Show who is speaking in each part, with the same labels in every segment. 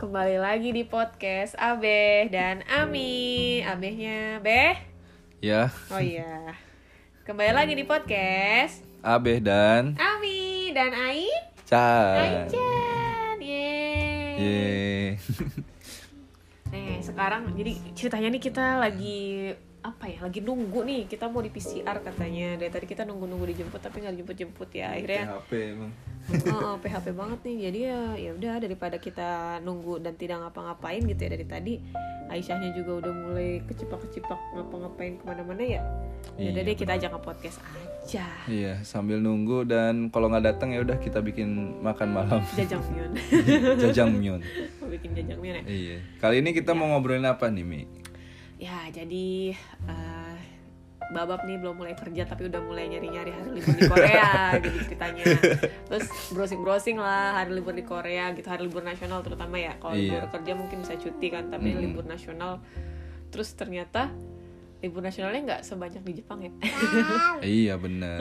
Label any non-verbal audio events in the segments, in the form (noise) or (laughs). Speaker 1: kembali lagi di podcast Abeh dan Ami. Abehnya Beh.
Speaker 2: Ya,
Speaker 1: Oh iya. Kembali lagi di podcast
Speaker 2: Abeh dan
Speaker 1: Ami dan Ain.
Speaker 2: Chan.
Speaker 1: Aichan. Yeay.
Speaker 2: Ye.
Speaker 1: Nih, sekarang jadi ceritanya nih kita lagi apa ya lagi nunggu nih kita mau di PCR katanya dari tadi kita nunggu-nunggu dijemput tapi nggak dijemput-jemput ya akhirnya
Speaker 2: PHP emang.
Speaker 1: Oh, oh, PHP banget nih. Jadi ya ya udah daripada kita nunggu dan tidak ngapa-ngapain gitu ya dari tadi. Aisyahnya juga udah mulai kecipak-kecipak ngapa-ngapain kemana-mana ya. Ya udah
Speaker 2: Iya,
Speaker 1: deh kita ajak ke podcast aja.
Speaker 2: Iya, sambil nunggu dan kalau nggak datang ya udah kita bikin makan malam (laughs)
Speaker 1: Jajangmyeon. (laughs)
Speaker 2: jajangmyeon.
Speaker 1: Mau bikin jajangmyeon ya.
Speaker 2: Iya. Kali ini kita mau ngobrolin apa nih, Mi?
Speaker 1: Ya, jadi eh, Babab nih belum mulai kerja tapi udah mulai nyari-nyari hari libur di
Speaker 2: (laughs)
Speaker 1: Korea gitu ceritanya. Terus browsing-browsing lah hari libur di Korea gitu, hari libur nasional terutama ya. Kalau libur
Speaker 2: Iya.
Speaker 1: kerja mungkin bisa cuti kan, tapi
Speaker 2: Mm-mm.
Speaker 1: libur nasional terus ternyata libur nasionalnya nggak sebanyak di Jepang
Speaker 2: (laughs)
Speaker 1: ya.
Speaker 2: Iya, benar.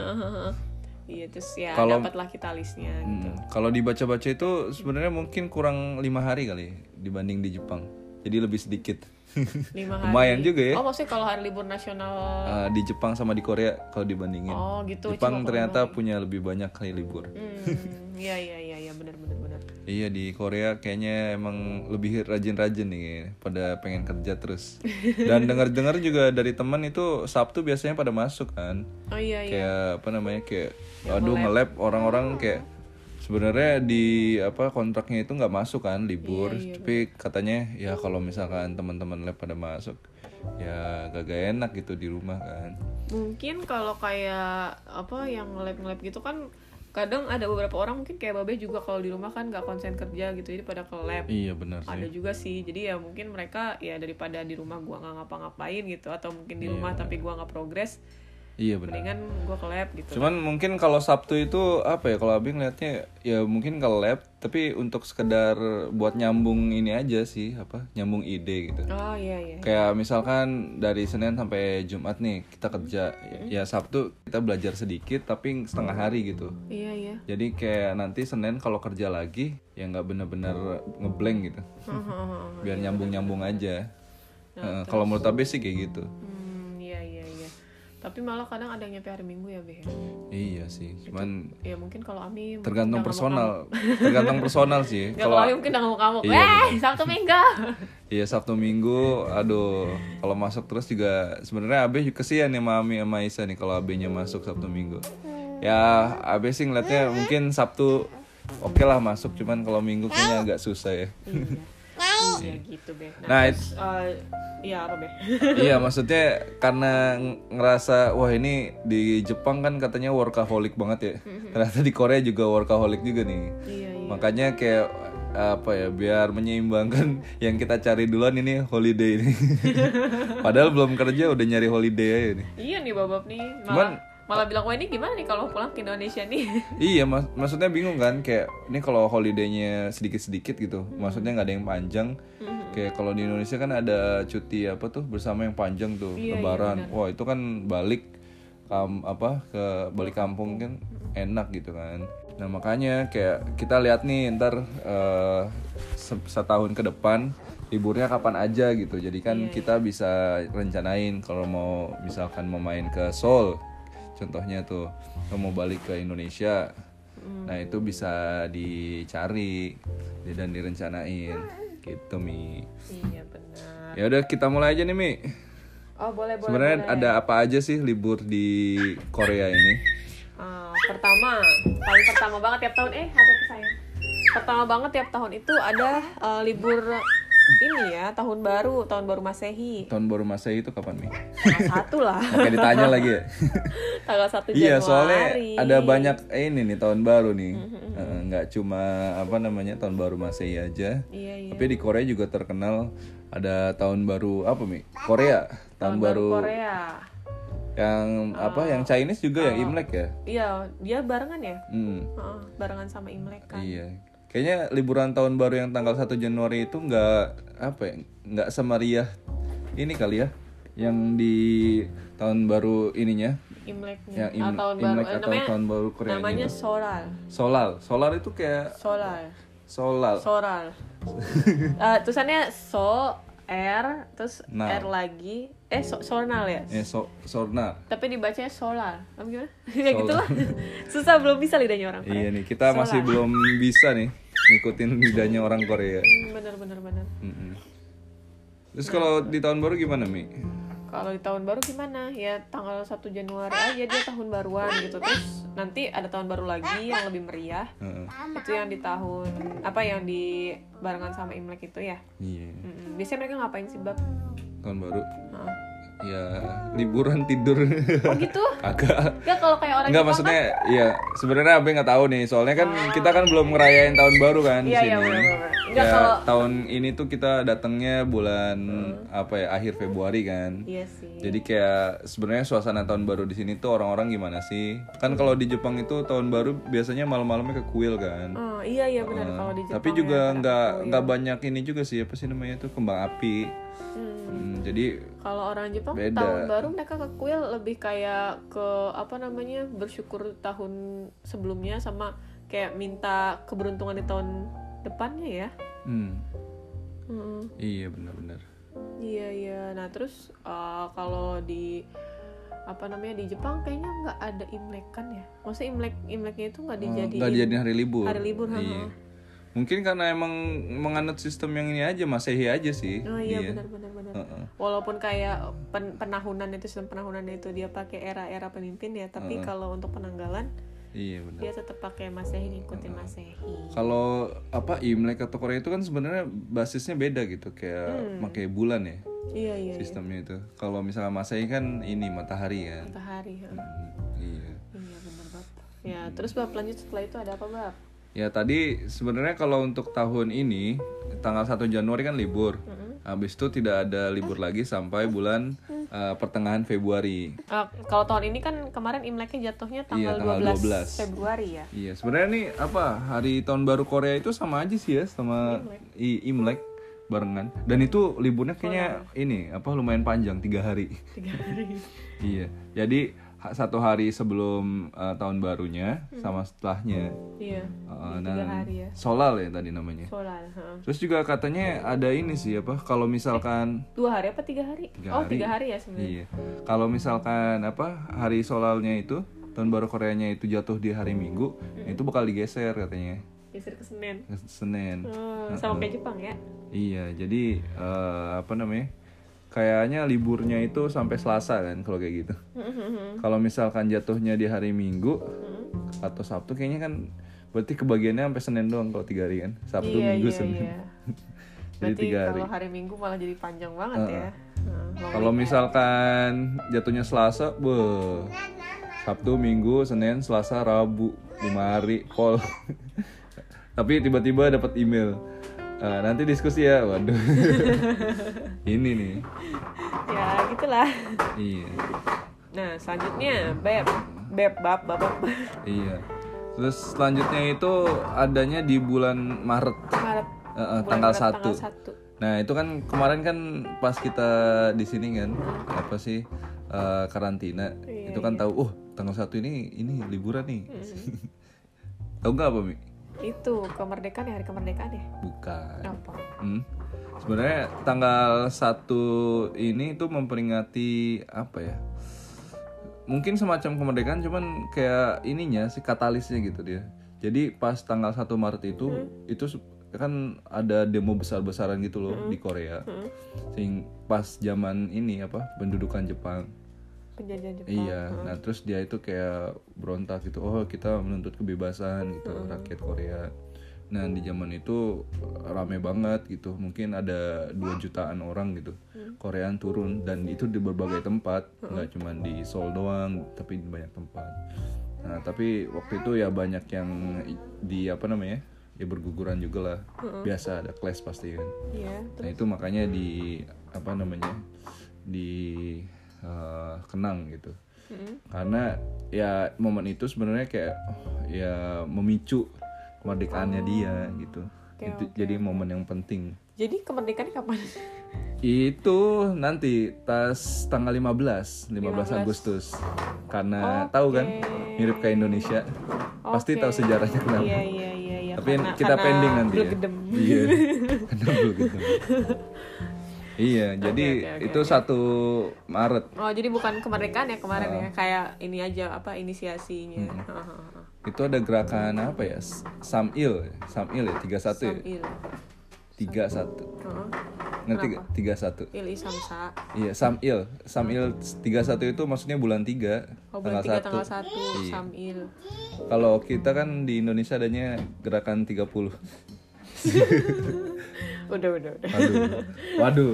Speaker 1: Iya, terus ya
Speaker 2: Kalau- Mm.
Speaker 1: dapatlah kita listnya gitu.
Speaker 2: Hmm. Kalau dibaca-baca itu sebenarnya mungkin kurang lima hari kali dibanding di Jepang. Jadi lebih sedikit. (laughs)
Speaker 1: Lima hari.
Speaker 2: Lumayan juga ya.
Speaker 1: Oh, maksudnya kalau hari libur nasional
Speaker 2: Eh, di Jepang sama di Korea kalau dibandingin.
Speaker 1: Oh, gitu.
Speaker 2: Jepang
Speaker 1: Cuma kurang
Speaker 2: ternyata punya lebih banyak kali libur.
Speaker 1: Hmm, iya iya iya iya benar benar benar.
Speaker 2: Iya di Korea kayaknya emang lebih rajin-rajin nih kayaknya, pada pengen kerja terus. Dan dengar-dengar juga dari teman itu Sabtu biasanya pada masuk kan.
Speaker 1: Oh iya iya.
Speaker 2: Kayak apa namanya kayak aduh nge-lab orang-orang kayak sebenarnya di apa kontraknya itu nggak masuk kan libur. Tapi katanya ya kalau misalkan teman-teman lab pada masuk ya kagak enak gitu di rumah kan.
Speaker 1: mungkin kalau kayak apa yang lab lab gitu kan kadang ada beberapa orang mungkin kayak babe juga kalau di rumah kan nggak konsen kerja gitu jadi pada ke lab
Speaker 2: Iya benar
Speaker 1: ada
Speaker 2: sih.
Speaker 1: juga sih jadi ya mungkin mereka ya daripada di rumah gua nggak ngapa-ngapain gitu atau mungkin di rumah tapi gua nggak progres
Speaker 2: Iya benar.
Speaker 1: mendingan gua ke lab gitu
Speaker 2: Cuman mungkin kalau Sabtu itu apa ya kalau Abi ngeliatnya ya mungkin ke lab tapi untuk sekedar buat nyambung ini aja sih apa nyambung ide gitu.
Speaker 1: oh iya iya
Speaker 2: Kayak misalkan dari Senin sampai Jumat nih kita kerja ya Sabtu kita belajar sedikit tapi setengah hari gitu.
Speaker 1: iya
Speaker 2: (laughs)
Speaker 1: iya
Speaker 2: Jadi kayak nanti Senin kalau kerja lagi ya nggak bener-bener ngeblank gitu.
Speaker 1: Hmm,
Speaker 2: Biar nyambung-nyambung aja. Eh, kalau menurut Abi sih kayak gitu.
Speaker 1: hmm iya iya iya tapi malah kadang ada yang nyampe hari minggu ya be
Speaker 2: Iya sih. Cuman
Speaker 1: ya mungkin kalau Ami mungkin
Speaker 2: tergantung
Speaker 1: udah ngamuk-ngamuk.
Speaker 2: personal. Tergantung personal
Speaker 1: (laughs)
Speaker 2: sih.
Speaker 1: Nggak, kalau Ami mungkin udah ngamuk-ngamuk
Speaker 2: Iya,
Speaker 1: weh sabtu
Speaker 2: (laughs)
Speaker 1: minggu
Speaker 2: Iya Sabtu Minggu, aduh kalau masuk terus juga sebenarnya Abe juga kesian nih sama Ami sama Isa nih kalau Abenya masuk Sabtu Minggu. Ya Abe sih ngeliatnya mungkin Sabtu oke lah masuk, cuman kalau Minggu kayaknya agak susah ya.
Speaker 1: Iya. Iya gitu, Beh. Nah,
Speaker 2: Nah,
Speaker 1: terus, eh, iya apa, Beh?
Speaker 2: iya maksudnya karena ng- ngerasa wah ini di Jepang kan katanya workaholic banget ya, ternyata di Korea juga workaholic juga nih.
Speaker 1: (laughs) iya, iya.
Speaker 2: Makanya kayak apa ya biar menyeimbangkan yang kita cari duluan ini holiday ini. (laughs) Padahal belum kerja udah nyari holiday aja nih.
Speaker 1: Iya nih Babab nih. Malah
Speaker 2: Cuman-
Speaker 1: malah bilang, "Wah, ini gimana nih kalau pulang ke Indonesia nih?" (laughs)
Speaker 2: Iya, mas maksudnya bingung kan kayak ini kalau holidaynya sedikit-sedikit gitu. Maksudnya nggak ada yang panjang. Kayak kalau di Indonesia kan ada cuti apa tuh bersama yang panjang tuh,
Speaker 1: Iya, iya,
Speaker 2: lebaran. Wah, itu kan balik kam apa ke balik kampung kan enak gitu kan. Nah, makanya kayak kita lihat nih ntar eh, se- setahun ke depan liburnya kapan aja gitu. Jadi kan kita bisa rencanain kalau mau misalkan mau main ke Seoul contohnya tuh lo mau balik ke Indonesia nah itu bisa dicari di- dan direncanain gitu mi
Speaker 1: iya, benar.
Speaker 2: ya udah kita mulai aja nih mi
Speaker 1: Oh, boleh, boleh.
Speaker 2: sebenarnya ada apa aja sih libur di Korea ini
Speaker 1: Ah, pertama, paling pertama banget tiap tahun eh ada tuh sayang. Pertama banget tiap tahun itu ada eh, libur ini ya, tahun baru, tahun baru Masehi.
Speaker 2: tahun baru Masehi itu kapan mi (laughs)
Speaker 1: Tanggal satu lah.
Speaker 2: Makanya ditanya lagi
Speaker 1: (laughs)
Speaker 2: ya
Speaker 1: Tanggal 1 Januari. Mm-hmm,
Speaker 2: iya soalnya ada banyak eh, ini nih tahun baru nih Eh, nggak cuma apa namanya tahun baru Masehi aja
Speaker 1: Iya, iya.
Speaker 2: tapi di Korea juga terkenal ada tahun baru apa mi Korea tahun, baru
Speaker 1: Korea.
Speaker 2: yang apa
Speaker 1: Oh.
Speaker 2: yang Chinese juga ya Imlek ya
Speaker 1: Iya, dia barengan ya?
Speaker 2: hmm,
Speaker 1: Heeh, barengan sama Imlek kan.
Speaker 2: iya kayaknya liburan tahun baru yang tanggal 1 Januari itu nggak apa ya nggak semeriah ini kali ya yang di tahun baru ininya
Speaker 1: Imleknya
Speaker 2: yang Ya,
Speaker 1: Ah, Iya.
Speaker 2: Im-
Speaker 1: tahun baru Eh,
Speaker 2: Imlek atau gitu.
Speaker 1: namanya
Speaker 2: tahun baru Korea
Speaker 1: namanya
Speaker 2: ini
Speaker 1: Solal
Speaker 2: Solal Solar itu kayak
Speaker 1: Solal
Speaker 2: Solal. (laughs)
Speaker 1: Soral. Eh, tulisannya so r terus
Speaker 2: Nah.
Speaker 1: r lagi eh so, sornal ya.
Speaker 2: Eh, so, sorna.
Speaker 1: Tapi dibacanya solar. Apa gimana? (laughs) ya
Speaker 2: Solar.
Speaker 1: gitulah. Susah belum bisa lidahnya orang Korea.
Speaker 2: Iya nih, kita masih
Speaker 1: Solar.
Speaker 2: belum bisa nih ngikutin lidahnya orang Korea.
Speaker 1: Hmm, Bener bener bener.
Speaker 2: Mm-mm. Terus kalau di tahun baru gimana, Mi?
Speaker 1: Kalau di tahun baru gimana? Ya tanggal 1 Januari aja dia tahun baruan gitu. Terus nanti ada tahun baru lagi yang lebih meriah.
Speaker 2: Heeh.
Speaker 1: Itu yang di tahun apa yang di barengan sama Imlek itu ya.
Speaker 2: Iya,
Speaker 1: Mm-mm. Biasanya mereka ngapain sih, Bab?
Speaker 2: tahun baru
Speaker 1: Heeh.
Speaker 2: ya liburan tidur
Speaker 1: Oh gitu?
Speaker 2: agak
Speaker 1: Gak kalau kayak orang
Speaker 2: Enggak
Speaker 1: Jepang kan-
Speaker 2: maksudnya iya sebenarnya Abe nggak tahu nih soalnya kan kita kan belum ngerayain tahun baru kan di
Speaker 1: Iya, iya,
Speaker 2: sini.
Speaker 1: benar-benar.
Speaker 2: Ya,
Speaker 1: Enggak kalau Hmm.
Speaker 2: tahun ini tuh kita datangnya bulan apa ya akhir Februari kan.
Speaker 1: Iya sih.
Speaker 2: Jadi kayak sebenarnya suasana tahun baru di sini tuh orang-orang gimana sih? Kan kalau di Jepang itu tahun baru biasanya malam-malamnya ke kuil kan.
Speaker 1: Oh, iya iya benar kalau di Jepang.
Speaker 2: Tapi juga nggak nggak banyak ini juga sih apa sih namanya tuh kembang api.
Speaker 1: Hmm.
Speaker 2: Hmm, jadi
Speaker 1: Kalau orang Jepang
Speaker 2: Beda.
Speaker 1: tahun baru mereka ke kuil lebih kayak ke apa namanya bersyukur tahun sebelumnya sama kayak minta keberuntungan di tahun depannya ya.
Speaker 2: hmm,
Speaker 1: Mm-mm.
Speaker 2: iya benar-benar.
Speaker 1: Iya iya. Nah terus eh, kalau di apa namanya di Jepang kayaknya nggak ada imlek kan ya. Maksudnya imlek imleknya itu nggak dijadiin.
Speaker 2: Oh, Hmm, nggak jadi hari libur.
Speaker 1: Hari libur, ha,
Speaker 2: Iya.
Speaker 1: ha.
Speaker 2: Mungkin karena emang menganut sistem yang ini aja masehi aja sih.
Speaker 1: Oh iya
Speaker 2: dia.
Speaker 1: benar benar benar.
Speaker 2: Heeh.
Speaker 1: Walaupun kayak pen- penahunan itu sistem penahunan itu dia pakai era-era pemimpin ya, tapi kalau untuk penanggalan
Speaker 2: Iya benar.
Speaker 1: dia tetap pakai masehi ngikutin masehi.
Speaker 2: Kalau apa Imlek atau Korea itu kan sebenarnya basisnya beda gitu
Speaker 1: Hmm.
Speaker 2: kayak pakai bulan ya
Speaker 1: Iya iya. iya.
Speaker 2: sistemnya itu. Kalau misalnya masehi kan ini matahari kan.
Speaker 1: Matahari. ha.
Speaker 2: Hmm, Iya.
Speaker 1: Iya benar bab. Ya terus bab lanjut setelah itu ada apa bab?
Speaker 2: Ya tadi sebenarnya kalau untuk tahun ini tanggal 1 Januari kan libur.
Speaker 1: Hmm.
Speaker 2: Habis itu tidak ada libur lagi sampai bulan eh, pertengahan Februari.
Speaker 1: Ah, kalau tahun ini kan kemarin imleknya jatuhnya tanggal,
Speaker 2: Iya, tanggal
Speaker 1: 12,
Speaker 2: 12.
Speaker 1: Februari ya.
Speaker 2: Iya, sebenarnya nih apa hari tahun baru Korea itu sama aja sih ya sama I- Imlek barengan. Dan itu liburnya kayaknya ini apa lumayan panjang tiga hari. (laughs)
Speaker 1: Tiga hari.
Speaker 2: iya, jadi ha- satu hari sebelum eh, tahun barunya sama setelahnya.
Speaker 1: iya.
Speaker 2: Eh,
Speaker 1: Hmm. Tiga
Speaker 2: dan
Speaker 1: hari ya.
Speaker 2: Solal ya tadi namanya.
Speaker 1: Solar. ha.
Speaker 2: Terus juga katanya ada ini sih apa kalau misalkan
Speaker 1: Dua hari apa tiga hari?
Speaker 2: Tiga
Speaker 1: oh
Speaker 2: hari.
Speaker 1: tiga hari ya Eh, iya, sebenarnya.
Speaker 2: iya kalau misalkan apa hari solalnya itu tahun baru Koreanya itu jatuh di hari Minggu,
Speaker 1: Hmm.
Speaker 2: itu bakal digeser katanya
Speaker 1: Geser ke Senin.
Speaker 2: ke Senin.
Speaker 1: Hmm, sama kayak Jepang ya.
Speaker 2: Iya, jadi eh, apa namanya? Kayaknya liburnya itu sampai Selasa kan kalau kayak gitu.
Speaker 1: Hmm.
Speaker 2: Kalau misalkan jatuhnya di hari Minggu atau Sabtu kayaknya kan berarti kebagiannya sampai Senin doang kalau tiga hari kan. Sabtu,
Speaker 1: iya,
Speaker 2: Minggu,
Speaker 1: iya,
Speaker 2: Senin.
Speaker 1: Iya.
Speaker 2: Jadi
Speaker 1: Berarti
Speaker 2: tiga hari.
Speaker 1: kalau hari Minggu malah jadi panjang banget ya. Nah,
Speaker 2: Kalau misalkan jatuhnya Selasa, beuh. Sabtu, Minggu, Senin, Selasa, Rabu, lima hari, call. (laughs) Tapi tiba-tiba dapat email. Eh, nanti diskusi ya,
Speaker 1: (laughs)
Speaker 2: waduh. Ini nih.
Speaker 1: ya gitulah.
Speaker 2: Iya.
Speaker 1: Nah, selanjutnya beb beb bab bab bab.
Speaker 2: Iya. Terus selanjutnya itu adanya di bulan Maret.
Speaker 1: Maret
Speaker 2: Eh, eh,
Speaker 1: bulan
Speaker 2: tanggal
Speaker 1: Maret,
Speaker 2: 1.
Speaker 1: Tanggal satu.
Speaker 2: Nah, itu kan kemarin kan pas kita di sini kan apa sih eh, karantina.
Speaker 1: Iya,
Speaker 2: itu kan tahu, oh, tanggal satu ini ini liburan nih. (laughs) tahu nggak apa, Mi?
Speaker 1: Itu kemerdekaan ya hari kemerdekaan ya.
Speaker 2: Bukan.
Speaker 1: Apa?
Speaker 2: Hmm. Sebenarnya tanggal 1 ini tuh memperingati apa ya? Mungkin semacam kemerdekaan cuman kayak ininya si katalisnya gitu dia. Jadi pas tanggal 1 Maret itu itu se- kan ada demo besar-besaran gitu loh di Korea. Sing pas zaman ini apa pendudukan Jepang.
Speaker 1: Penjajahan Jepang.
Speaker 2: Iya, nah terus dia itu kayak berontak gitu, oh kita menuntut kebebasan gitu rakyat Korea. Nah di zaman itu rame banget gitu, mungkin ada 2 jutaan orang gitu, Korean turun dan itu di berbagai tempat, nggak cuma di Seoul doang, tapi di banyak tempat. Nah tapi waktu itu ya banyak yang i- di apa namanya ya berguguran juga lah, biasa ada clash pasti kan.
Speaker 1: Iya.
Speaker 2: Nah itu makanya di apa namanya di eh, kenang gitu
Speaker 1: Mm-mm.
Speaker 2: karena ya momen itu sebenarnya kayak oh, ya memicu kemerdekaannya dia gitu
Speaker 1: Oh. Oke,
Speaker 2: itu jadi momen yang penting
Speaker 1: Jadi kemerdekaan kapan?
Speaker 2: itu nanti tas tanggal 15 15, Agustus karena tahu kan
Speaker 1: Oke.
Speaker 2: mirip kayak Indonesia (laughs) pasti tahu
Speaker 1: Oke.
Speaker 2: sejarahnya kenapa
Speaker 1: Iya iya iya iya Iya,
Speaker 2: Tapi
Speaker 1: karena-
Speaker 2: kita
Speaker 1: karena
Speaker 2: pending nanti.
Speaker 1: belgedem.
Speaker 2: Ya. (laughs)
Speaker 1: (laughs)
Speaker 2: Iya. Karena belgedem. iya, jadi
Speaker 1: oke, oke,
Speaker 2: itu
Speaker 1: oke.
Speaker 2: satu Maret.
Speaker 1: Oh jadi bukan kemerdekaan ya kemarin ya kayak ini aja apa inisiasinya.
Speaker 2: Hmm.
Speaker 1: Heeh.
Speaker 2: Itu ada gerakan apa ya? S- Samil, ya? Samil ya 31 ya?
Speaker 1: Samil.
Speaker 2: 31.
Speaker 1: Heeh.
Speaker 2: Ngerti gak? 31.
Speaker 1: Il Isamsa.
Speaker 2: Iya, Samil. Samil 31 itu maksudnya bulan 3,
Speaker 1: Oh bulan tiga tanggal 1
Speaker 2: 1. Iya.
Speaker 1: Samil.
Speaker 2: Kalau kita kan di Indonesia adanya gerakan 30.
Speaker 1: Udah udah udah.
Speaker 2: Waduh.
Speaker 1: (laughs)
Speaker 2: Waduh.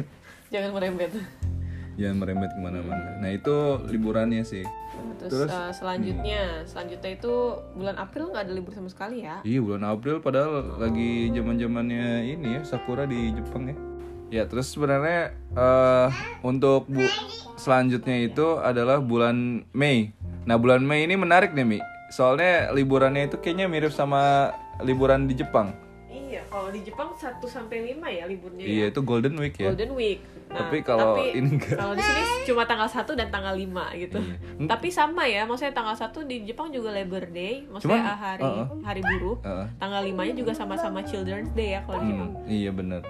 Speaker 2: (laughs)
Speaker 1: Jangan merembet.
Speaker 2: Jangan merembet kemana-mana. Nah, itu liburannya sih.
Speaker 1: Terus,
Speaker 2: Terus?
Speaker 1: eh, selanjutnya, selanjutnya itu bulan April nggak ada libur sama sekali ya?
Speaker 2: Iya bulan April padahal lagi zaman zamannya ini ya sakura di Jepang ya. Ya terus sebenarnya eh untuk bu selanjutnya itu adalah bulan Mei. Nah bulan Mei ini menarik nih Mi. Soalnya liburannya itu kayaknya mirip sama liburan di Jepang.
Speaker 1: Iya, kalau di Jepang 1 sampai 5 ya liburnya
Speaker 2: Iya itu Golden Week ya.
Speaker 1: Golden Week. Nah,
Speaker 2: Tapi kalau ini enggak.
Speaker 1: Kalau di sini cuma tanggal 1 dan tanggal 5 gitu.
Speaker 2: Iya.
Speaker 1: Tapi sama ya, maksudnya tanggal 1 di Jepang juga Labor Day, maksudnya
Speaker 2: Cuman,
Speaker 1: ah, hari
Speaker 2: uh-uh.
Speaker 1: hari buruh.
Speaker 2: Uh-uh.
Speaker 1: Tanggal 5-nya juga sama-sama Children's Day ya kalau di Jepang.
Speaker 2: Hmm, iya bener.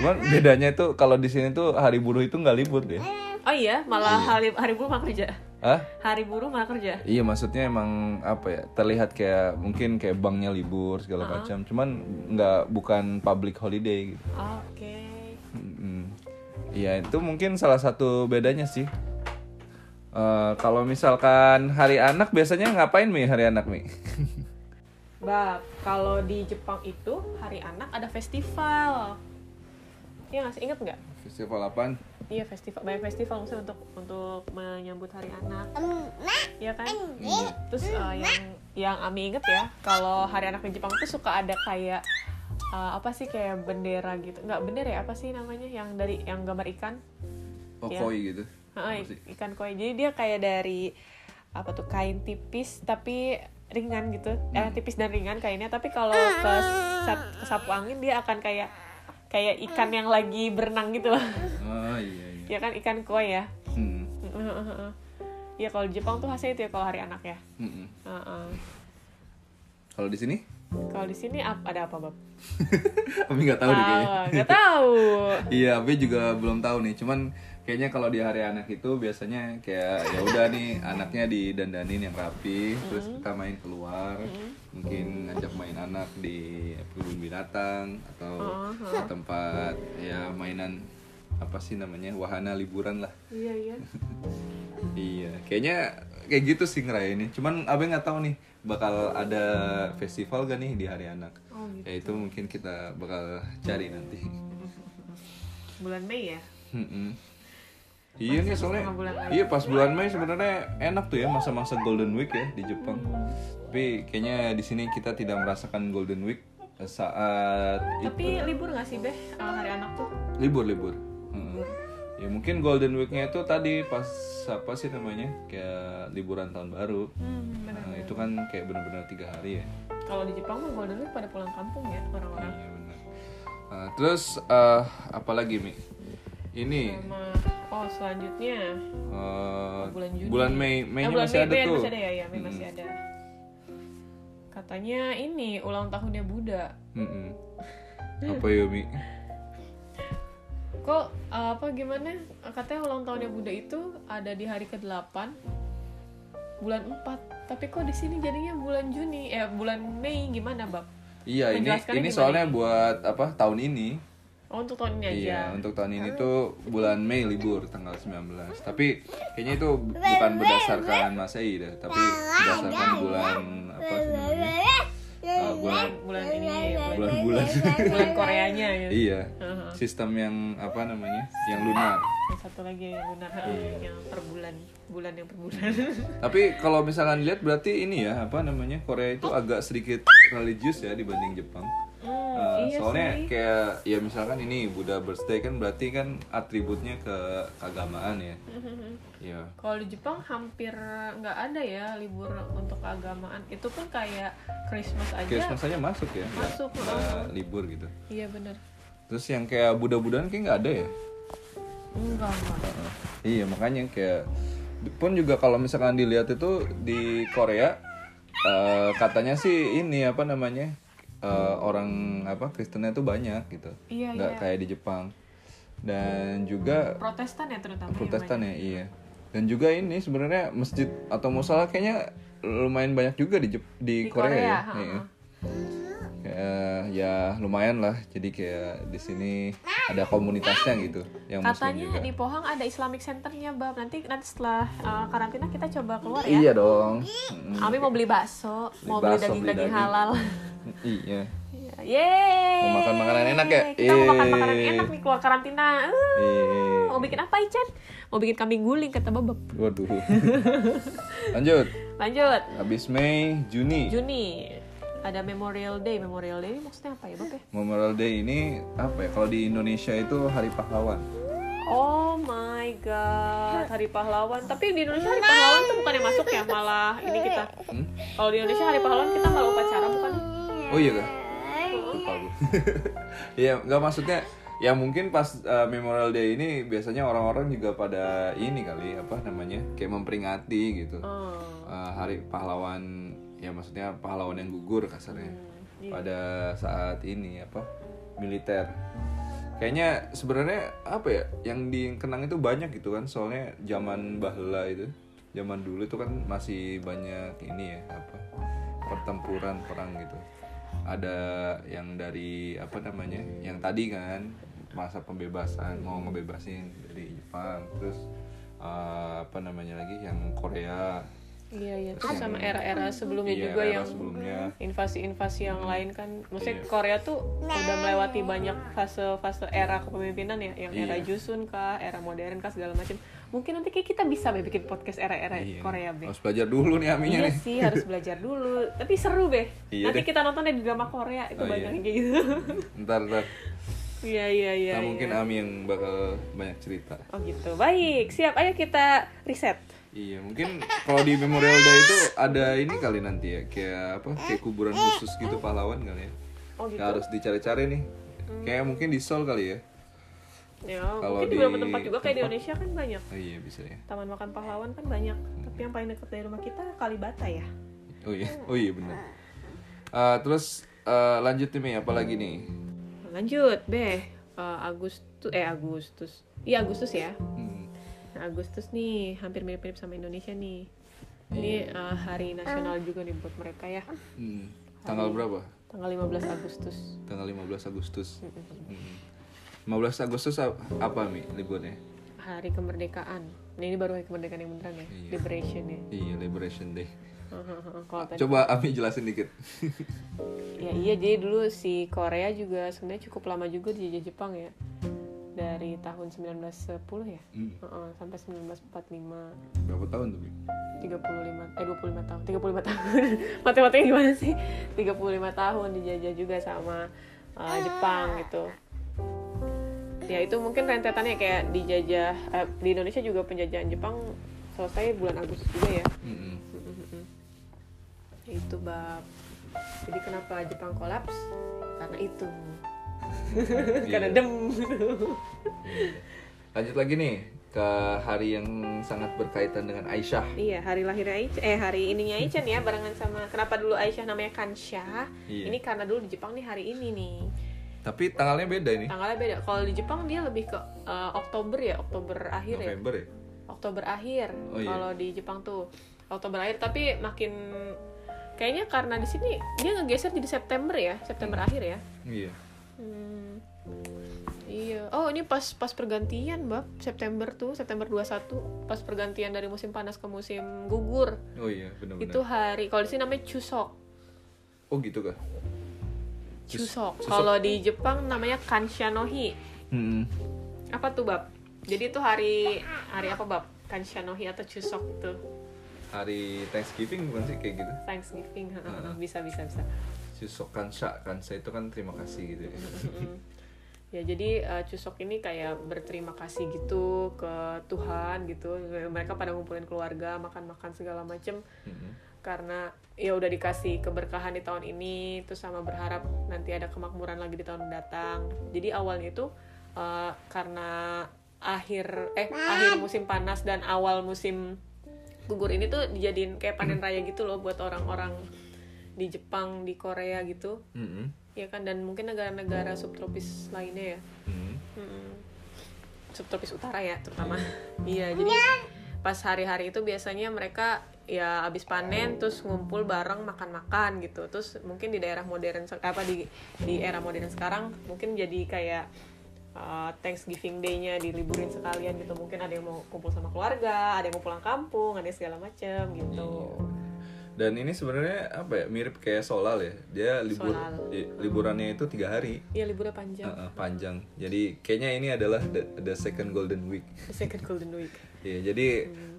Speaker 2: Cuman bedanya itu kalau di sini tuh hari buruh itu nggak libur deh.
Speaker 1: Oh iya, malah hari hari buruh malah kerja.
Speaker 2: Hah?
Speaker 1: Hari buruh malah kerja.
Speaker 2: Iya maksudnya emang apa ya terlihat kayak mungkin kayak banknya libur segala macam cuman nggak bukan public holiday gitu.
Speaker 1: Oke.
Speaker 2: Mm-mm. Iya itu mungkin salah satu bedanya sih. Eh, kalau misalkan hari anak biasanya ngapain mi hari anak mi?
Speaker 1: Bab, kalau di Jepang itu hari anak ada festival. Iya nggak sih? Ingat nggak?
Speaker 2: Festival apaan?
Speaker 1: Iya festival, banyak festival maksudnya untuk untuk menyambut hari anak. Iya kan? Terus eh, yang yang Ami inget ya, kalau hari anak di Jepang tuh suka ada kayak eh, apa sih kayak bendera gitu. Nggak bendera ya, apa sih namanya yang dari yang gambar ikan?
Speaker 2: Oh
Speaker 1: Iya.
Speaker 2: koi gitu.
Speaker 1: Heeh,
Speaker 2: Apa sih?
Speaker 1: ikan koi. Jadi dia kayak dari apa tuh kain tipis tapi ringan gitu. Eh
Speaker 2: Hmm.
Speaker 1: tipis dan ringan kainnya, tapi kalau ke, sap- ke sapu angin dia akan kayak kayak ikan yang lagi berenang gitu loh. (laughs)
Speaker 2: Ah iya
Speaker 1: ya
Speaker 2: iya.
Speaker 1: kan ikan koi ya.
Speaker 2: Hmm,
Speaker 1: Iya kalau di Jepang tuh khasnya itu ya kalau hari anak ya.
Speaker 2: mm-mm.
Speaker 1: Heeh.
Speaker 2: hmm, Kalau di sini? (laughs)
Speaker 1: Kalau di sini ap- ada apa bab?
Speaker 2: Kami nggak tahu deh kayaknya.
Speaker 1: Tahu, nggak
Speaker 2: (laughs)
Speaker 1: tahu.
Speaker 2: Iya, tapi juga belum tahu nih. Cuman kayaknya kalau di hari anak itu biasanya kayak ya udah nih anaknya didandanin yang rapi, terus
Speaker 1: Mm-hmm.
Speaker 2: kita main keluar, mungkin ngajak main anak di kebun binatang atau
Speaker 1: Uh-huh.
Speaker 2: tempat ya mainan apa sih namanya wahana liburan lah.
Speaker 1: Iya iya.
Speaker 2: Iya, kayaknya kayak gitu sih ngerayainnya. Cuman abang nggak tahu nih bakal ada festival gak nih di hari anak.
Speaker 1: Oh gitu.
Speaker 2: Ya itu mungkin kita bakal cari nanti.
Speaker 1: Bulan Mei ya.
Speaker 2: Mm-mm. Iya nih soalnya,
Speaker 1: setengah bulan lagi.
Speaker 2: iya pas bulan Mei sebenarnya enak tuh ya masa-masa Golden Week ya di Jepang. Tapi kayaknya di sini kita tidak merasakan Golden Week saat
Speaker 1: Tapi libur nggak sih beh eh, hari anak tuh?
Speaker 2: libur libur. Mm. Ya mungkin Golden Weeknya itu tadi pas apa sih namanya kayak liburan tahun baru.
Speaker 1: Hmm, benar.
Speaker 2: Nah, itu kan kayak benar-benar tiga hari ya.
Speaker 1: Kalau di Jepang mah Golden Week pada pulang kampung ya orang-orang.
Speaker 2: Iya benar. Nah, terus eh, apa lagi Mi? Ini
Speaker 1: Sama oh selanjutnya
Speaker 2: eh,
Speaker 1: bulan Juni.
Speaker 2: Mei
Speaker 1: Eh,
Speaker 2: Mei
Speaker 1: bulan
Speaker 2: masih
Speaker 1: Mei,
Speaker 2: ada
Speaker 1: Mei
Speaker 2: tuh. Hmm.
Speaker 1: Masih ada ya, ya Mei masih ada. Katanya ini ulang tahunnya Buddha.
Speaker 2: Mm-mm. Apa ya Mi?
Speaker 1: Kok eh, apa gimana? Katanya ulang tahunnya Buddha itu ada di hari ke-8 bulan 4. Tapi kok di sini jadinya bulan Juni eh bulan Mei gimana, Bab?
Speaker 2: Iya ini
Speaker 1: Menjelaskannya
Speaker 2: ini
Speaker 1: gimana
Speaker 2: soalnya buat apa tahun ini.
Speaker 1: Oh, untuk tahun ini aja.
Speaker 2: Iya untuk tahun ini tuh bulan Mei libur tanggal 19 Tapi kayaknya itu bukan berdasarkan Masehi deh Tapi berdasarkan bulan apa sih namanya Eh, bulan
Speaker 1: Bulan ini
Speaker 2: bulan-bulan
Speaker 1: bulan Koreanya gitu.
Speaker 2: (laughs) Iya sistem yang apa namanya yang lunar
Speaker 1: Yang Satu lagi yang lunar
Speaker 2: Iya.
Speaker 1: yang per bulan, bulan yang per bulan. (laughs)
Speaker 2: Tapi kalau misalkan lihat berarti ini ya apa namanya Korea itu agak sedikit religius ya dibanding Jepang.
Speaker 1: Hmm,
Speaker 2: Eh,
Speaker 1: iya
Speaker 2: soalnya
Speaker 1: sih.
Speaker 2: kayak ya misalkan ini Buddha birthday kan berarti kan atributnya ke keagamaan
Speaker 1: (laughs)
Speaker 2: ya. Iya.
Speaker 1: Kalau di Jepang hampir nggak ada ya libur untuk keagamaan. Itu pun kayak Christmas aja.
Speaker 2: Christmas aja masuk ya. nggak-
Speaker 1: Masuk,
Speaker 2: nggak libur gitu.
Speaker 1: Iya bener.
Speaker 2: Terus yang kayak Buddha-Buddhaan kayak nggak ada ya.
Speaker 1: Enggak, enggak.
Speaker 2: Heeh. Iya makanya kayak pun juga kalau misalkan dilihat itu di Korea eh, katanya sih ini apa namanya eh, orang apa Kristennya tuh banyak gitu
Speaker 1: Iya,
Speaker 2: nggak
Speaker 1: iya.
Speaker 2: kayak di Jepang dan juga
Speaker 1: Protestan ya terutama yang
Speaker 2: Protestan ya iya dan juga ini sebenarnya masjid atau musola kayaknya lumayan banyak juga di Jep-
Speaker 1: Di
Speaker 2: di,
Speaker 1: Korea,
Speaker 2: ya
Speaker 1: ha-ha.
Speaker 2: Iya. Kayak, ya lumayan lah jadi kayak di sini ada komunitasnya gitu yang
Speaker 1: banyak.
Speaker 2: muslim
Speaker 1: Katanya
Speaker 2: juga
Speaker 1: di Pohang ada Islamic Centernya, Bab. Nanti nanti setelah uh, karantina kita coba keluar ya.
Speaker 2: iya dong Mm,
Speaker 1: Ami mau beli bakso,
Speaker 2: Beli
Speaker 1: mau beli
Speaker 2: bakso, beli
Speaker 1: daging-daging
Speaker 2: daging.
Speaker 1: halal.
Speaker 2: iya
Speaker 1: Iya. (laughs) Yeay.
Speaker 2: Mau makan makanan enak ya?
Speaker 1: Kita mau makan
Speaker 2: Yeay.
Speaker 1: makanan enak nih keluar karantina. Uh,
Speaker 2: Iya.
Speaker 1: Mau bikin apa, Ican? Mau bikin kambing guling kata Bab. (laughs)
Speaker 2: waduh lanjut
Speaker 1: Lanjut.
Speaker 2: habis Mei Juni
Speaker 1: Juni ada Memorial Day. Memorial Day ini maksudnya apa ya, Bab ya?
Speaker 2: Memorial Day ini apa ya kalau di Indonesia itu Hari Pahlawan
Speaker 1: Oh my god, Hari Pahlawan. Tapi di Indonesia Hari Pahlawan tuh bukan yang masuk ya, malah ini kita.
Speaker 2: Nah. Hmm?
Speaker 1: Kalau di Indonesia Hari Pahlawan kita malah upacara bukan?
Speaker 2: Oh iya kah? Lupa gue. (laughs) Iya, nggak maksudnya ya mungkin pas uh, Memorial Day ini biasanya orang-orang juga pada ini kali apa namanya kayak memperingati gitu
Speaker 1: Oh,
Speaker 2: Uh, hari pahlawan ya maksudnya pahlawan yang gugur kasarnya pada saat ini apa militer kayaknya sebenarnya apa ya yang dikenang itu banyak gitu kan soalnya zaman bahla itu zaman dulu itu kan masih banyak ini ya apa pertempuran perang gitu ada yang dari apa namanya yang tadi kan masa pembebasan mau ngebebasin dari Jepang terus eh, apa namanya lagi yang Korea
Speaker 1: iya iya. Terus sama era-era sebelumnya
Speaker 2: Iya,
Speaker 1: juga
Speaker 2: era
Speaker 1: yang
Speaker 2: sebelumnya
Speaker 1: invasi-invasi yang lain kan. Maksudnya
Speaker 2: Iya.
Speaker 1: Korea tuh udah melewati banyak fase-fase era kepemimpinan ya, yang era
Speaker 2: Iya.
Speaker 1: Jusun kah, era modern kah segala macam. Mungkin nanti kayak kita bisa Be, bikin podcast era-era
Speaker 2: Iya,
Speaker 1: Korea, Be.
Speaker 2: harus belajar dulu nih aminya
Speaker 1: Iya
Speaker 2: nih
Speaker 1: sih harus belajar dulu. Tapi seru deh.
Speaker 2: Iya
Speaker 1: Nanti
Speaker 2: deh.
Speaker 1: kita nonton deh di drama Korea itu
Speaker 2: Oh,
Speaker 1: banyak
Speaker 2: iya.
Speaker 1: yang kayak gitu. (laughs)
Speaker 2: ntar ntar
Speaker 1: Iya iya iya.
Speaker 2: Nah,
Speaker 1: iya.
Speaker 2: mungkin Ami yang bakal banyak cerita
Speaker 1: Oh gitu. Baik, siap. Ayo kita riset.
Speaker 2: Iya, mungkin (laughs) kalau di Memorial Day itu ada ini kali nanti ya, kayak apa? Kayak kuburan khusus gitu pahlawan kali ya.
Speaker 1: Oh gitu.
Speaker 2: Kayak harus dicari-cari nih. Kayak mungkin di Seoul kali ya.
Speaker 1: Ya,
Speaker 2: Kalau
Speaker 1: mungkin di
Speaker 2: di
Speaker 1: beberapa tempat juga kayak di
Speaker 2: tempat-
Speaker 1: Indonesia kan banyak.
Speaker 2: Oh iya bisa ya.
Speaker 1: Taman makan pahlawan kan banyak. Tapi yang paling dekat dari rumah kita Kalibata ya.
Speaker 2: Oh iya, oh iya benar. Eh, terus eh, lanjut nih, Mei, apa lagi nih?
Speaker 1: Lanjut, Be. Eh, Agustus eh Agustus. Iya Agustus ya.
Speaker 2: Hmm.
Speaker 1: Nah, Agustus nih hampir mirip-mirip sama Indonesia nih.
Speaker 2: Iya.
Speaker 1: Ini eh, hari nasional juga nih buat mereka ya.
Speaker 2: hmm. Tanggal berapa?
Speaker 1: Tanggal 15 Agustus.
Speaker 2: Tanggal 15 Agustus. Hmm. 15 Agustus ap- apa, Mi? Liburnya?
Speaker 1: hari kemerdekaan. Nah, ini baru hari kemerdekaan yang beneran ya,
Speaker 2: Iya.
Speaker 1: liberation
Speaker 2: (laughs)
Speaker 1: ya.
Speaker 2: Iya, Liberation Day.
Speaker 1: Kalau tadi,
Speaker 2: Coba Ami jelasin dikit.
Speaker 1: ya iya jadi dulu si Korea juga sebenarnya cukup lama juga dijajah Jepang ya. Dari tahun 1910 ya.
Speaker 2: Hmm.
Speaker 1: Heeh, sampai 1945,
Speaker 2: Berapa tahun tuh, Mi?
Speaker 1: 35 eh 25 tahun, 35 tahun. (laughs) Matematiknya gimana sih? 35 tahun dijajah juga sama eh, Jepang gitu. Ya itu mungkin rentetannya kayak dijajah eh, di Indonesia juga penjajahan Jepang selesai bulan Agustus juga ya.
Speaker 2: Mm-mm.
Speaker 1: itu bab jadi kenapa Jepang kolaps karena itu (laughs) (laughs) karena
Speaker 2: Iya.
Speaker 1: dem (laughs)
Speaker 2: Lanjut lagi nih ke hari yang sangat berkaitan dengan Aisyah.
Speaker 1: iya hari lahirnya Aichan eh hari ininya Aichan ya barengan sama kenapa dulu Aisyah namanya Kansha
Speaker 2: Iya.
Speaker 1: ini karena dulu di Jepang nih hari ini nih
Speaker 2: Tapi tanggalnya beda ini.
Speaker 1: tanggalnya beda kalau di Jepang dia lebih ke eh, Oktober ya Oktober akhir ya
Speaker 2: November ya.
Speaker 1: Oktober akhir
Speaker 2: Oh, iya.
Speaker 1: kalau di Jepang tuh Oktober akhir tapi makin kayaknya karena di sini dia ngegeser jadi September ya September akhir ya
Speaker 2: Iya.
Speaker 1: Hmm. Iya. Oh, ini pas pas pergantian, Bab. September tuh, September 21, pas pergantian dari musim panas ke musim gugur.
Speaker 2: Oh iya, benar-benar.
Speaker 1: Itu hari kalau di sini namanya Chuseok.
Speaker 2: Oh gitu kah? Chus-
Speaker 1: Chuseok.
Speaker 2: Chuseok.
Speaker 1: Kalau di Jepang namanya Kanshanohi.
Speaker 2: Hmm.
Speaker 1: Apa tuh, Bab? Jadi itu hari hari apa, Bab? Kanshanohi atau Chuseok tuh.
Speaker 2: Hari Thanksgiving bukan sih kayak gitu?
Speaker 1: Thanksgiving. bisa bisa bisa.
Speaker 2: Susok kansa, kansa itu kan terima kasih gitu ya.
Speaker 1: Mm. Ya jadi uh, Cusok ini kayak berterima kasih gitu ke Tuhan gitu. Mereka pada ngumpulin keluarga, makan-makan segala macem
Speaker 2: Mm-mm.
Speaker 1: karena ya udah dikasih keberkahan di tahun ini terus sama berharap nanti ada kemakmuran lagi di tahun mendatang. Jadi awalnya itu uh, karena akhir eh akhir musim panas dan awal musim gugur ini tuh dijadiin kayak panen raya gitu loh buat orang-orang di Jepang di Korea gitu
Speaker 2: Mm-mm.
Speaker 1: ya kan dan mungkin negara-negara subtropis lainnya ya
Speaker 2: Mm.
Speaker 1: Mm-mm. subtropis utara ya terutama (laughs) iya jadi pas hari-hari itu biasanya mereka ya abis panen terus ngumpul bareng makan-makan gitu terus mungkin di daerah modern se- apa di di era modern sekarang mungkin jadi kayak uh, Thanksgiving Day-nya diliburin sekalian gitu mungkin ada yang mau kumpul sama keluarga ada yang mau pulang kampung ada yang segala macem gitu
Speaker 2: Dan ini sebenarnya apa ya mirip kayak Solal ya. Dia libur
Speaker 1: Solal.
Speaker 2: i- liburannya itu tiga hari
Speaker 1: ya liburnya panjang
Speaker 2: Uh-uh, panjang. Jadi kayaknya ini adalah the, the second golden week.
Speaker 1: the second golden week Mm-hmm.
Speaker 2: Ya jadi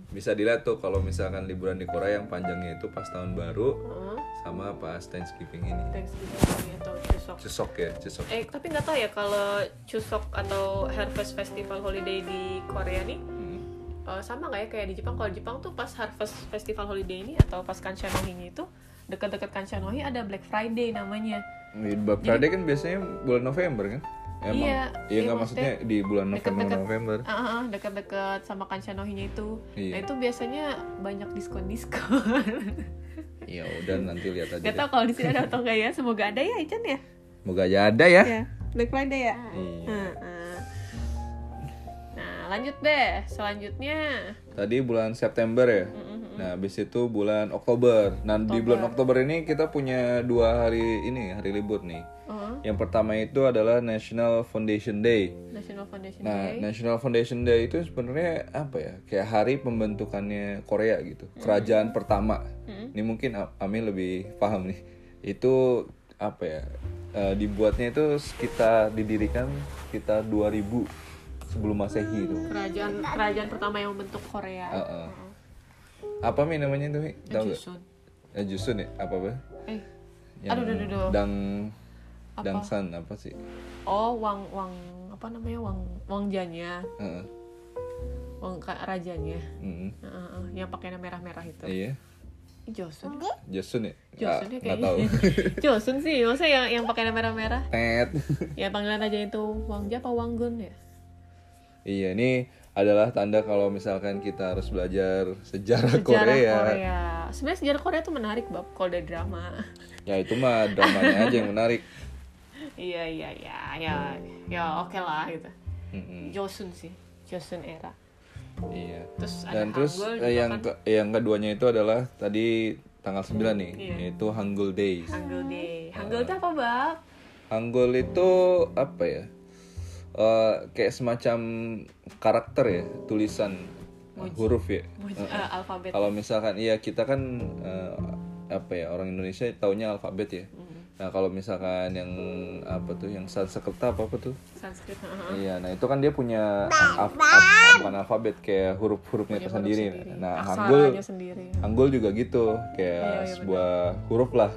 Speaker 2: bisa dilihat tuh kalau misalkan liburan di Korea yang panjangnya itu pas tahun baru
Speaker 1: Heeh.
Speaker 2: sama pas Thanksgiving ini.
Speaker 1: Thanksgiving atau Chuseok
Speaker 2: Cesok ya, cesok.
Speaker 1: Eh tapi nggak tahu ya kalau Chuseok atau Harvest Festival Holiday di Korea nih
Speaker 2: Mm.
Speaker 1: eh, sama nggak ya kayak di Jepang? Kalau di Jepang tuh pas Harvest Festival Holiday ini atau pas Kanshanohi itu dekat-dekat Kanshanohi ada Black Friday namanya.
Speaker 2: Black Friday kan biasanya bulan November kan?
Speaker 1: Iya,
Speaker 2: Emang. Iya
Speaker 1: iya,
Speaker 2: nggak maksudnya
Speaker 1: maksudnya
Speaker 2: di bulan November
Speaker 1: deket-deket.
Speaker 2: November.
Speaker 1: Ah, ah, ah, dekat-dekat sama Kanshanohi-nya itu.
Speaker 2: Iya.
Speaker 1: Nah itu biasanya banyak diskon-diskon. (laughs)
Speaker 2: Iya udah nanti lihat aja.
Speaker 1: Gak
Speaker 2: deh.
Speaker 1: tau kalau di sini ada atau enggak ya. Semoga ada ya Ican
Speaker 2: (laughs)
Speaker 1: ya.
Speaker 2: Moga aja ada ya.
Speaker 1: Ya, Black Friday ya.
Speaker 2: Iya.
Speaker 1: Heeh. Nah lanjut deh selanjutnya.
Speaker 2: Tadi bulan September ya. Nah, habis itu bulan Oktober. Nah, di bulan Oktober ini kita punya dua hari ini hari libur nih.
Speaker 1: Oh,
Speaker 2: Yang pertama itu adalah National Foundation Day.
Speaker 1: National Foundation
Speaker 2: Nah,
Speaker 1: Day.
Speaker 2: National Foundation Day itu sebenarnya apa ya? Kayak hari pembentukannya Korea gitu.
Speaker 1: Hmm.
Speaker 2: Kerajaan pertama. Ini mungkin A- Amin lebih paham nih. Itu apa ya? eh, dibuatnya itu sekitar didirikan sekitar 2000 sebelum Masehi itu.
Speaker 1: kerajaan kerajaan pertama yang membentuk
Speaker 2: Eh,
Speaker 1: Korea
Speaker 2: eh. Apa Mi namanya itu, Mi? Tahu nggak?
Speaker 1: Jusun
Speaker 2: Ya Jusun ya? Apa apa?
Speaker 1: eh
Speaker 2: Yang
Speaker 1: Aduh, aduh, aduh, aduh.
Speaker 2: Dang Dangsan apa sih?
Speaker 1: oh Wang Wang apa namanya Wang Wang Janya
Speaker 2: Heeh.
Speaker 1: Wang ka- rajanya
Speaker 2: Mm-mm.
Speaker 1: Heeh, heeh, yang pakainya merah-merah itu
Speaker 2: Iya.
Speaker 1: Josun
Speaker 2: Jusun
Speaker 1: Josun ya
Speaker 2: ya? Nggak- nggak
Speaker 1: kayaknya
Speaker 2: tahu. (laughs)
Speaker 1: Josun sih masa yang yang pakainya merah-merah
Speaker 2: Tet.
Speaker 1: ya panggilan aja itu Wang Ja apa Wang Gun ya
Speaker 2: Iya, ini adalah tanda kalau misalkan kita harus belajar sejarah,
Speaker 1: sejarah
Speaker 2: (laughs) Korea.
Speaker 1: Korea, sebenarnya sejarah Korea tuh menarik bab kalau dari drama (laughs)
Speaker 2: Ya itu mah dramanya aja yang menarik.
Speaker 1: iya iya iya ya ya oke lah gitu
Speaker 2: Mm-mm.
Speaker 1: Josun sih Josun era
Speaker 2: Iya.
Speaker 1: terus ada
Speaker 2: Dan terus
Speaker 1: Hangul
Speaker 2: eh,
Speaker 1: juga
Speaker 2: yang
Speaker 1: kan.
Speaker 2: ke- yang keduanya itu adalah tadi tanggal 9 nih,
Speaker 1: Iya.
Speaker 2: yaitu Hangul Days.
Speaker 1: Hangul Day. Hangul itu apa, Bab?
Speaker 2: Hangul itu apa ya? Eh, kayak semacam karakter ya, tulisan eh, huruf ya.
Speaker 1: Mojo- eh, alfabet.
Speaker 2: Kalau misalkan iya kita kan eh, apa ya orang Indonesia taunya alfabet ya.
Speaker 1: Mm-hmm.
Speaker 2: Nah kalau misalkan yang apa tuh yang Sanskerta apa apa tuh?
Speaker 1: Sanskrit. heeh.
Speaker 2: Iya, nah itu kan dia punya af- af- bukan alfabet kayak
Speaker 1: Punya huruf
Speaker 2: huruf-hurufnya tersendiri.
Speaker 1: sendiri.
Speaker 2: Nah Hangul,
Speaker 1: Aksaranya sendiri.
Speaker 2: Hangul juga gitu kayak
Speaker 1: Iya, Mm-hmm. iya,
Speaker 2: sebuah huruf lah.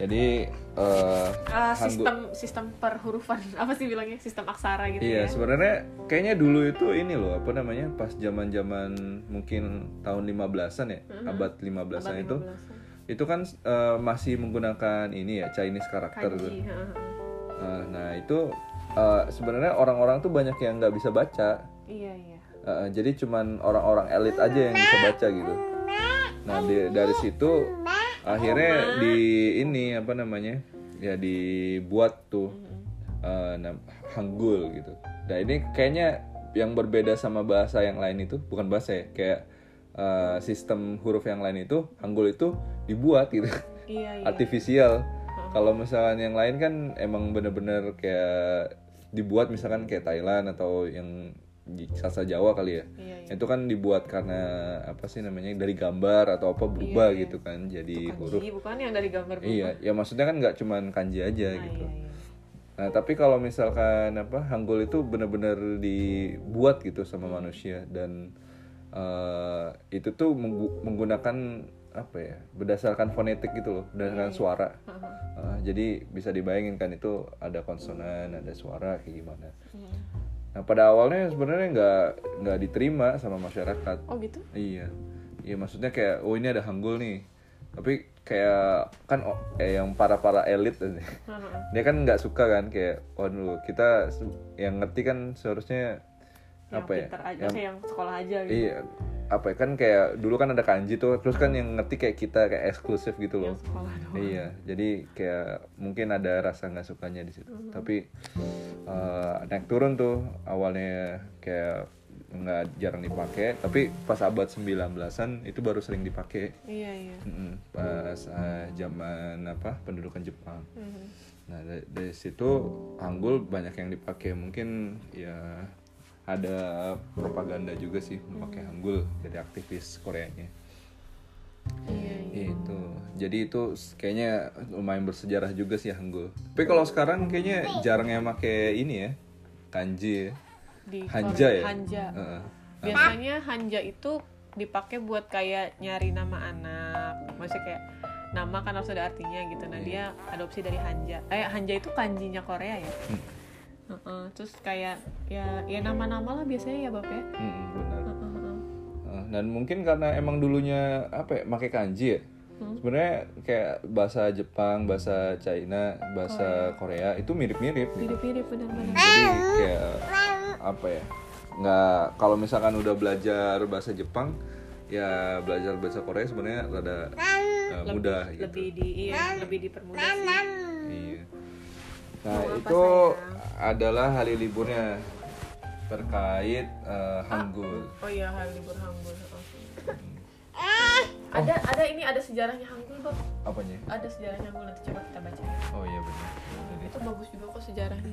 Speaker 2: Jadi eh,
Speaker 1: Eh,
Speaker 2: Hangul-
Speaker 1: sistem sistem perhurufan (laughs) apa sih bilangnya sistem aksara gitu
Speaker 2: Iya,
Speaker 1: ya
Speaker 2: sebenarnya kayaknya dulu itu ini loh, apa namanya? Pas zaman-zaman mungkin tahun 15-an ya, abad 15-an
Speaker 1: Mm-hmm. Abad
Speaker 2: itu.
Speaker 1: 15-an.
Speaker 2: Itu kan eh, masih menggunakan ini ya, Chinese karakter tuh.
Speaker 1: kanji heeh.
Speaker 2: Nah, nah, itu eh, sebenarnya orang-orang tuh banyak yang nggak bisa baca.
Speaker 1: iya iya
Speaker 2: Eh, jadi cuman orang-orang elit aja yang bisa baca gitu. Nah, di- dari situ akhirnya di ini apa namanya? Ya dibuat tuh eh, nam- Hangul gitu. Nah, ini kayaknya yang berbeda sama bahasa yang lain itu bukan bahasa ya, kayak eh, sistem huruf yang lain itu Hangul itu dibuat gitu. (laughs)
Speaker 1: iya iya
Speaker 2: Artifisial. Kalau misalkan yang lain kan emang bener-bener kayak dibuat misalkan kayak Thailand atau yang di sasa Jawa kali ya.
Speaker 1: iya iya
Speaker 2: Itu kan dibuat karena apa sih namanya dari gambar atau apa berubah gitu kan jadi huruf.
Speaker 1: Iya, kanji bukan yang dari gambar buku.
Speaker 2: Iya, ya maksudnya kan nggak cuman kanji aja
Speaker 1: Ah,
Speaker 2: gitu.
Speaker 1: iya, iya.
Speaker 2: Nah, tapi kalau misalkan apa Hangul itu benar-benar dibuat gitu sama
Speaker 1: Hmm.
Speaker 2: manusia dan eh, itu tuh menggu- menggunakan apa ya? Berdasarkan fonetik gitu loh, berdasarkan
Speaker 1: Iya,
Speaker 2: suara.
Speaker 1: Heeh.
Speaker 2: Eh, jadi bisa dibayangin kan itu ada konsonan, ada suara kayak gimana.
Speaker 1: Heeh.
Speaker 2: Nah, pada awalnya sebenarnya nggak nggak diterima sama masyarakat.
Speaker 1: oh gitu
Speaker 2: Iya. Iya maksudnya kayak oh ini ada Hangul nih. Tapi kayak kan oh, eh, yang para-para elit
Speaker 1: Heeh.
Speaker 2: (laughs) dia kan nggak suka kan kayak waduh kita se- yang ngerti kan seharusnya
Speaker 1: yang
Speaker 2: apa ya
Speaker 1: pinter aja yang... yang sekolah aja gitu
Speaker 2: iya apa ya, kan kayak dulu kan ada kanji tuh terus kan yang ngerti kayak kita kayak eksklusif gitu
Speaker 1: yang
Speaker 2: loh
Speaker 1: sekolah doang
Speaker 2: iya jadi kayak mungkin ada rasa nggak sukanya di situ tapi eh, naik turun tuh awalnya kayak nggak jarang dipakai tapi pas abad 19-an itu baru sering dipakai
Speaker 1: iya iya
Speaker 2: Mm-mm, pas eh, zaman apa pendudukan Jepang
Speaker 1: Mhm.
Speaker 2: Nah da- dari, situ Anggul banyak yang dipakai mungkin ya ada propaganda juga sih memakai Anggul dari aktivis Koreanya
Speaker 1: iya iya
Speaker 2: itu jadi itu s- kayaknya lumayan bersejarah juga sih Hangul tapi kalau sekarang kayaknya jarang yang pakai ini ya kanji ya
Speaker 1: di
Speaker 2: Hanja
Speaker 1: Korea-
Speaker 2: ya
Speaker 1: Hanja
Speaker 2: Heeh.
Speaker 1: biasanya hanja itu dipakai buat kayak nyari nama anak maksudnya kayak nama kan harus ada artinya gitu
Speaker 2: Iya.
Speaker 1: nah dia adopsi dari hanja eh hanja itu kanjinya Korea ya
Speaker 2: Hmm.
Speaker 1: Heeh, terus kayak ya ya nama-nama lah biasanya ya bapak ya
Speaker 2: Mm, benar
Speaker 1: Heeh, heeh.
Speaker 2: Heeh, dan mungkin karena emang dulunya apa ya pakai kanji ya
Speaker 1: Hmm.
Speaker 2: sebenarnya kayak bahasa Jepang bahasa China bahasa Korea itu mirip-mirip gitu.
Speaker 1: mirip-mirip benar-benar
Speaker 2: jadi kayak apa ya nggak kalau misalkan udah belajar bahasa Jepang ya belajar bahasa Korea sebenarnya rada eh, mudah gitu
Speaker 1: lebih di iya, lebih dipermudah sih.
Speaker 2: iya nah itu adalah hari liburnya terkait eh, Hangul
Speaker 1: oh iya hari libur Hangul heeh.
Speaker 2: Hmm.
Speaker 1: ada ada ini ada sejarahnya Hangul Bob
Speaker 2: apanya
Speaker 1: ada sejarahnya Hangul nanti coba kita baca
Speaker 2: oh iya benar Jadi-
Speaker 1: itu bagus juga kok sejarahnya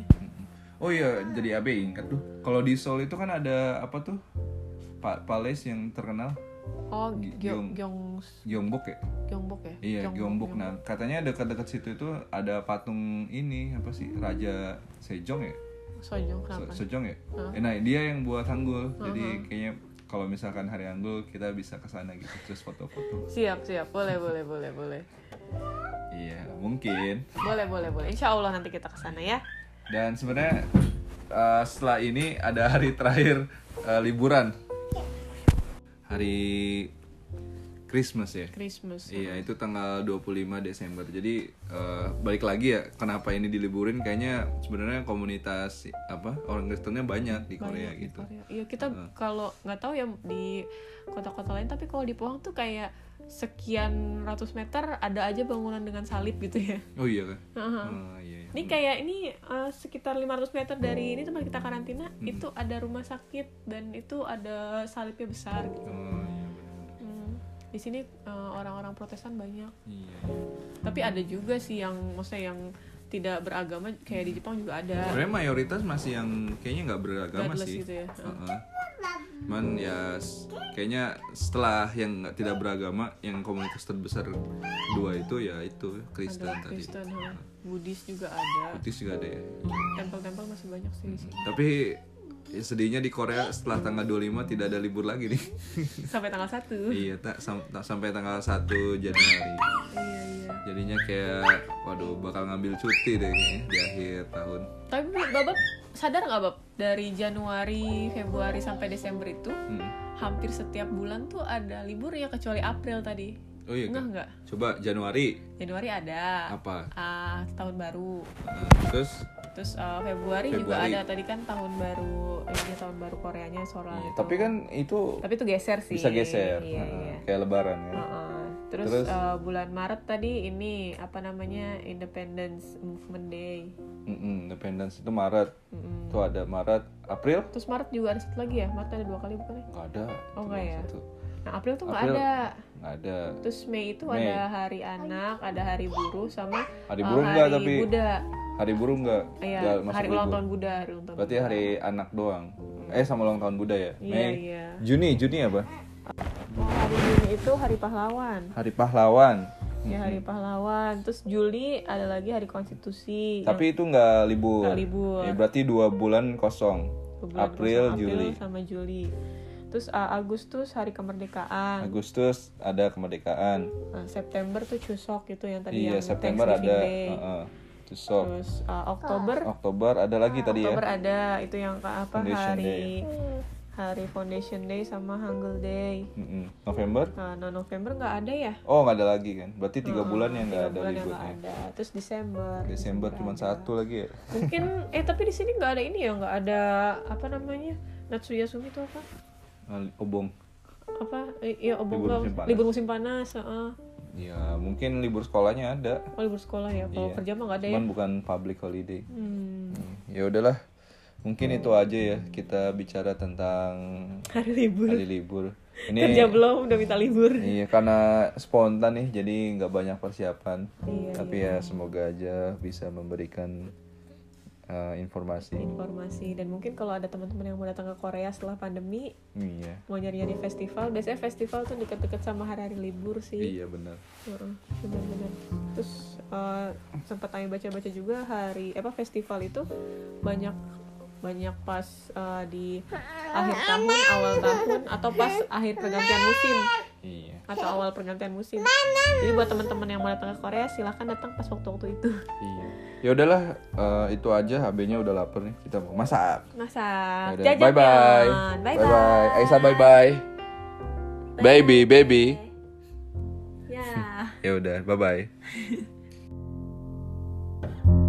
Speaker 2: Oh iya, jadi Abe ingat tuh. Kalau di Seoul itu kan ada apa tuh? Pak Palace yang terkenal
Speaker 1: Oh,
Speaker 2: Gi-
Speaker 1: Gyeong,
Speaker 2: Gyeong-
Speaker 1: Gyeong,
Speaker 2: Gyeongbok ya?
Speaker 1: Gyeongbok ya?
Speaker 2: Iya,
Speaker 1: Gyeong-
Speaker 2: Gyeongbok. Nah, katanya dekat-dekat situ itu ada patung ini apa sih? Raja Sejong ya?
Speaker 1: Sojong
Speaker 2: Se-
Speaker 1: kenapa?
Speaker 2: Sejong ya?
Speaker 1: Hah?
Speaker 2: Eh, Nah, dia yang buat tanggul. Jadi kayaknya kalau misalkan hari Anggul kita bisa ke sana gitu terus foto-foto.
Speaker 1: Siap, siap. Boleh, boleh, boleh, boleh.
Speaker 2: Iya, mungkin.
Speaker 1: Boleh, boleh, boleh. Insya Allah nanti kita ke sana ya.
Speaker 2: Dan sebenarnya eh, setelah ini ada hari terakhir eh, liburan. Hari Christmas ya.
Speaker 1: Christmas.
Speaker 2: Iya, itu tanggal 25 Desember. Jadi eh, balik lagi ya, kenapa ini diliburin? Kayaknya sebenarnya komunitas apa orang Kristennya banyak di Korea
Speaker 1: Banyak di
Speaker 2: gitu.
Speaker 1: Korea. Iya, kita kalau nggak tahu ya di kota-kota lain, tapi kalau di Pohang tuh kayak sekian ratus meter ada aja bangunan dengan salib gitu ya.
Speaker 2: Oh iya kan?
Speaker 1: Heeh.
Speaker 2: Ah, iya, iya.
Speaker 1: Ini kayak ini eh, sekitar 500 meter dari
Speaker 2: Oh.
Speaker 1: ini tempat kita karantina
Speaker 2: Hmm.
Speaker 1: itu ada rumah sakit dan itu ada salibnya besar gitu.
Speaker 2: Oh, iya, benar-benar.
Speaker 1: Hmm, Di sini eh, orang-orang Protestan banyak.
Speaker 2: Iya, iya.
Speaker 1: Tapi ada juga sih yang maksudnya yang tidak beragama kayak di Jepang juga ada.
Speaker 2: Sebenarnya mayoritas masih yang kayaknya nggak beragama
Speaker 1: Godless
Speaker 2: sih.
Speaker 1: gitu ya.
Speaker 2: Heeh. Cuman ya s- kayaknya setelah yang nggak tidak beragama, yang komunitas terbesar dua itu ya itu Kristen
Speaker 1: Ada
Speaker 2: tadi.
Speaker 1: Kristen, ha. Buddhis juga ada.
Speaker 2: Buddhis juga ada ya.
Speaker 1: Tempel-tempel masih banyak sih di sini.
Speaker 2: Tapi ya sedihnya di Korea setelah tanggal 25 tidak ada libur lagi
Speaker 1: (laughs)
Speaker 2: nih.
Speaker 1: Sampai tanggal 1.
Speaker 2: Hmm. iya, tak sam- tak sampai tanggal 1 Januari.
Speaker 1: Iya, iya.
Speaker 2: Jadinya kayak waduh bakal ngambil cuti deh kayaknya di akhir tahun.
Speaker 1: Tapi Babab sadar nggak Bab dari Januari, Februari sampai Desember itu
Speaker 2: Hmm.
Speaker 1: hampir setiap bulan tuh ada liburnya kecuali April tadi.
Speaker 2: Oh iya.
Speaker 1: Enggak
Speaker 2: Kak.
Speaker 1: enggak.
Speaker 2: Coba Januari
Speaker 1: Januari ada.
Speaker 2: apa?
Speaker 1: Ah, tahun baru.
Speaker 2: Nah, terus
Speaker 1: Terus eh, Februari, juga
Speaker 2: Februari.
Speaker 1: ada tadi kan tahun baru ini tahun baru Koreanya Soran.
Speaker 2: Iya,
Speaker 1: itu.
Speaker 2: tapi kan itu
Speaker 1: Gitu. tapi itu geser sih.
Speaker 2: bisa geser
Speaker 1: Iya,
Speaker 2: Nah,
Speaker 1: iya.
Speaker 2: kayak lebaran ya
Speaker 1: Heeh. Terus,
Speaker 2: Terus?
Speaker 1: eh, bulan Maret tadi ini apa namanya Independence Movement Day.
Speaker 2: Mm-mm, Independence itu Maret
Speaker 1: Mm-mm.
Speaker 2: itu ada Maret April
Speaker 1: Terus Maret juga ada satu lagi ya. Maret ada dua kali bukan? ya?
Speaker 2: nggak ada
Speaker 1: Oh,
Speaker 2: Itu
Speaker 1: nggak
Speaker 2: yang
Speaker 1: ya?
Speaker 2: satu.
Speaker 1: Nah April tuh nggak
Speaker 2: April.
Speaker 1: ada.
Speaker 2: nggak ada
Speaker 1: Terus Mei itu
Speaker 2: Mei.
Speaker 1: ada Hari Anak, ada Hari Buruh sama
Speaker 2: hari
Speaker 1: eh,
Speaker 2: buruh nggak
Speaker 1: Hari
Speaker 2: tapi
Speaker 1: Buddha.
Speaker 2: hari buruh nggak
Speaker 1: Iya,
Speaker 2: nggak masuk
Speaker 1: hari ulang
Speaker 2: libur.
Speaker 1: tahun Buddha, hari ulang tahun.
Speaker 2: berarti
Speaker 1: Buddha.
Speaker 2: hari anak doang eh sama ulang tahun Buddha ya
Speaker 1: Iya,
Speaker 2: Mei
Speaker 1: iya.
Speaker 2: Juni Juni apa
Speaker 1: Oh, hari Juni itu hari pahlawan.
Speaker 2: hari pahlawan
Speaker 1: Ya hari
Speaker 2: Mm-hmm.
Speaker 1: pahlawan. Terus Juli ada lagi hari konstitusi.
Speaker 2: tapi itu nggak libur
Speaker 1: Iya. Nggak libur.
Speaker 2: Ya, berarti dua bulan kosong
Speaker 1: Yang bulan
Speaker 2: April
Speaker 1: kosong,
Speaker 2: Juli
Speaker 1: sama Juli. Terus uh, Agustus hari kemerdekaan.
Speaker 2: Agustus ada kemerdekaan
Speaker 1: Nah, September tuh Chuseok gitu yang tadi
Speaker 2: iya
Speaker 1: yang
Speaker 2: September ada
Speaker 1: Thanksgiving Day.
Speaker 2: heeh. Oh, iya. Tusok.
Speaker 1: Terus uh, Oktober
Speaker 2: Oktober ada lagi tadi ya
Speaker 1: Ah, Oktober ada itu yang ke- apa
Speaker 2: Foundation
Speaker 1: hari
Speaker 2: Day.
Speaker 1: hari Foundation Day sama Hangul Day.
Speaker 2: Mm-mm. November
Speaker 1: Nah, no- November nggak ada ya?
Speaker 2: Oh nggak ada lagi kan? Berarti tiga bulan yang nggak
Speaker 1: Tiga
Speaker 2: ada
Speaker 1: bulan yang nggak
Speaker 2: liburnya.
Speaker 1: ada. Terus Desember.
Speaker 2: Desember cuma satu lagi ya.
Speaker 1: Mungkin eh tapi di sini nggak ada ini ya nggak ada apa namanya Natsuya Sumi itu apa?
Speaker 2: Ah, Obong.
Speaker 1: apa eh, iya obong libur,
Speaker 2: Libur musim panas.
Speaker 1: libur musim panas heeh.
Speaker 2: ya mungkin libur sekolahnya ada
Speaker 1: oh libur sekolah ya kalau
Speaker 2: Iya.
Speaker 1: kerja mah nggak ada ya
Speaker 2: cuman bukan public holiday
Speaker 1: Hmm,
Speaker 2: ya udahlah mungkin itu aja ya kita bicara tentang
Speaker 1: hari libur
Speaker 2: hari libur ini
Speaker 1: kerja belum udah minta libur
Speaker 2: Iya karena spontan nih jadi nggak banyak persiapan.
Speaker 1: Iya,
Speaker 2: Tapi ya semoga aja bisa memberikan uh, informasi.
Speaker 1: iya, informasi dan mungkin kalau ada teman-teman yang mau datang ke Korea setelah pandemi
Speaker 2: Iya.
Speaker 1: mau nyari-nyari festival biasanya festival tuh deket-deket sama hari-hari libur sih
Speaker 2: Iya benar.
Speaker 1: Heeh, benar-benar terus eh, sempat kami baca-baca juga hari apa festival itu banyak banyak pas eh, di akhir tahun awal tahun atau pas akhir pergantian musim
Speaker 2: Iya.
Speaker 1: atau awal pergantian musim jadi buat teman-teman yang mau datang ke Korea silahkan datang pas waktu-waktu itu
Speaker 2: Iya. Ya udahlah uh, itu aja HB-nya udah lapar nih kita mau masak.
Speaker 1: masa
Speaker 2: Bye bye. Bye bye. Aisyah bye bye. Baby baby.
Speaker 1: ya
Speaker 2: Ya udah bye bye.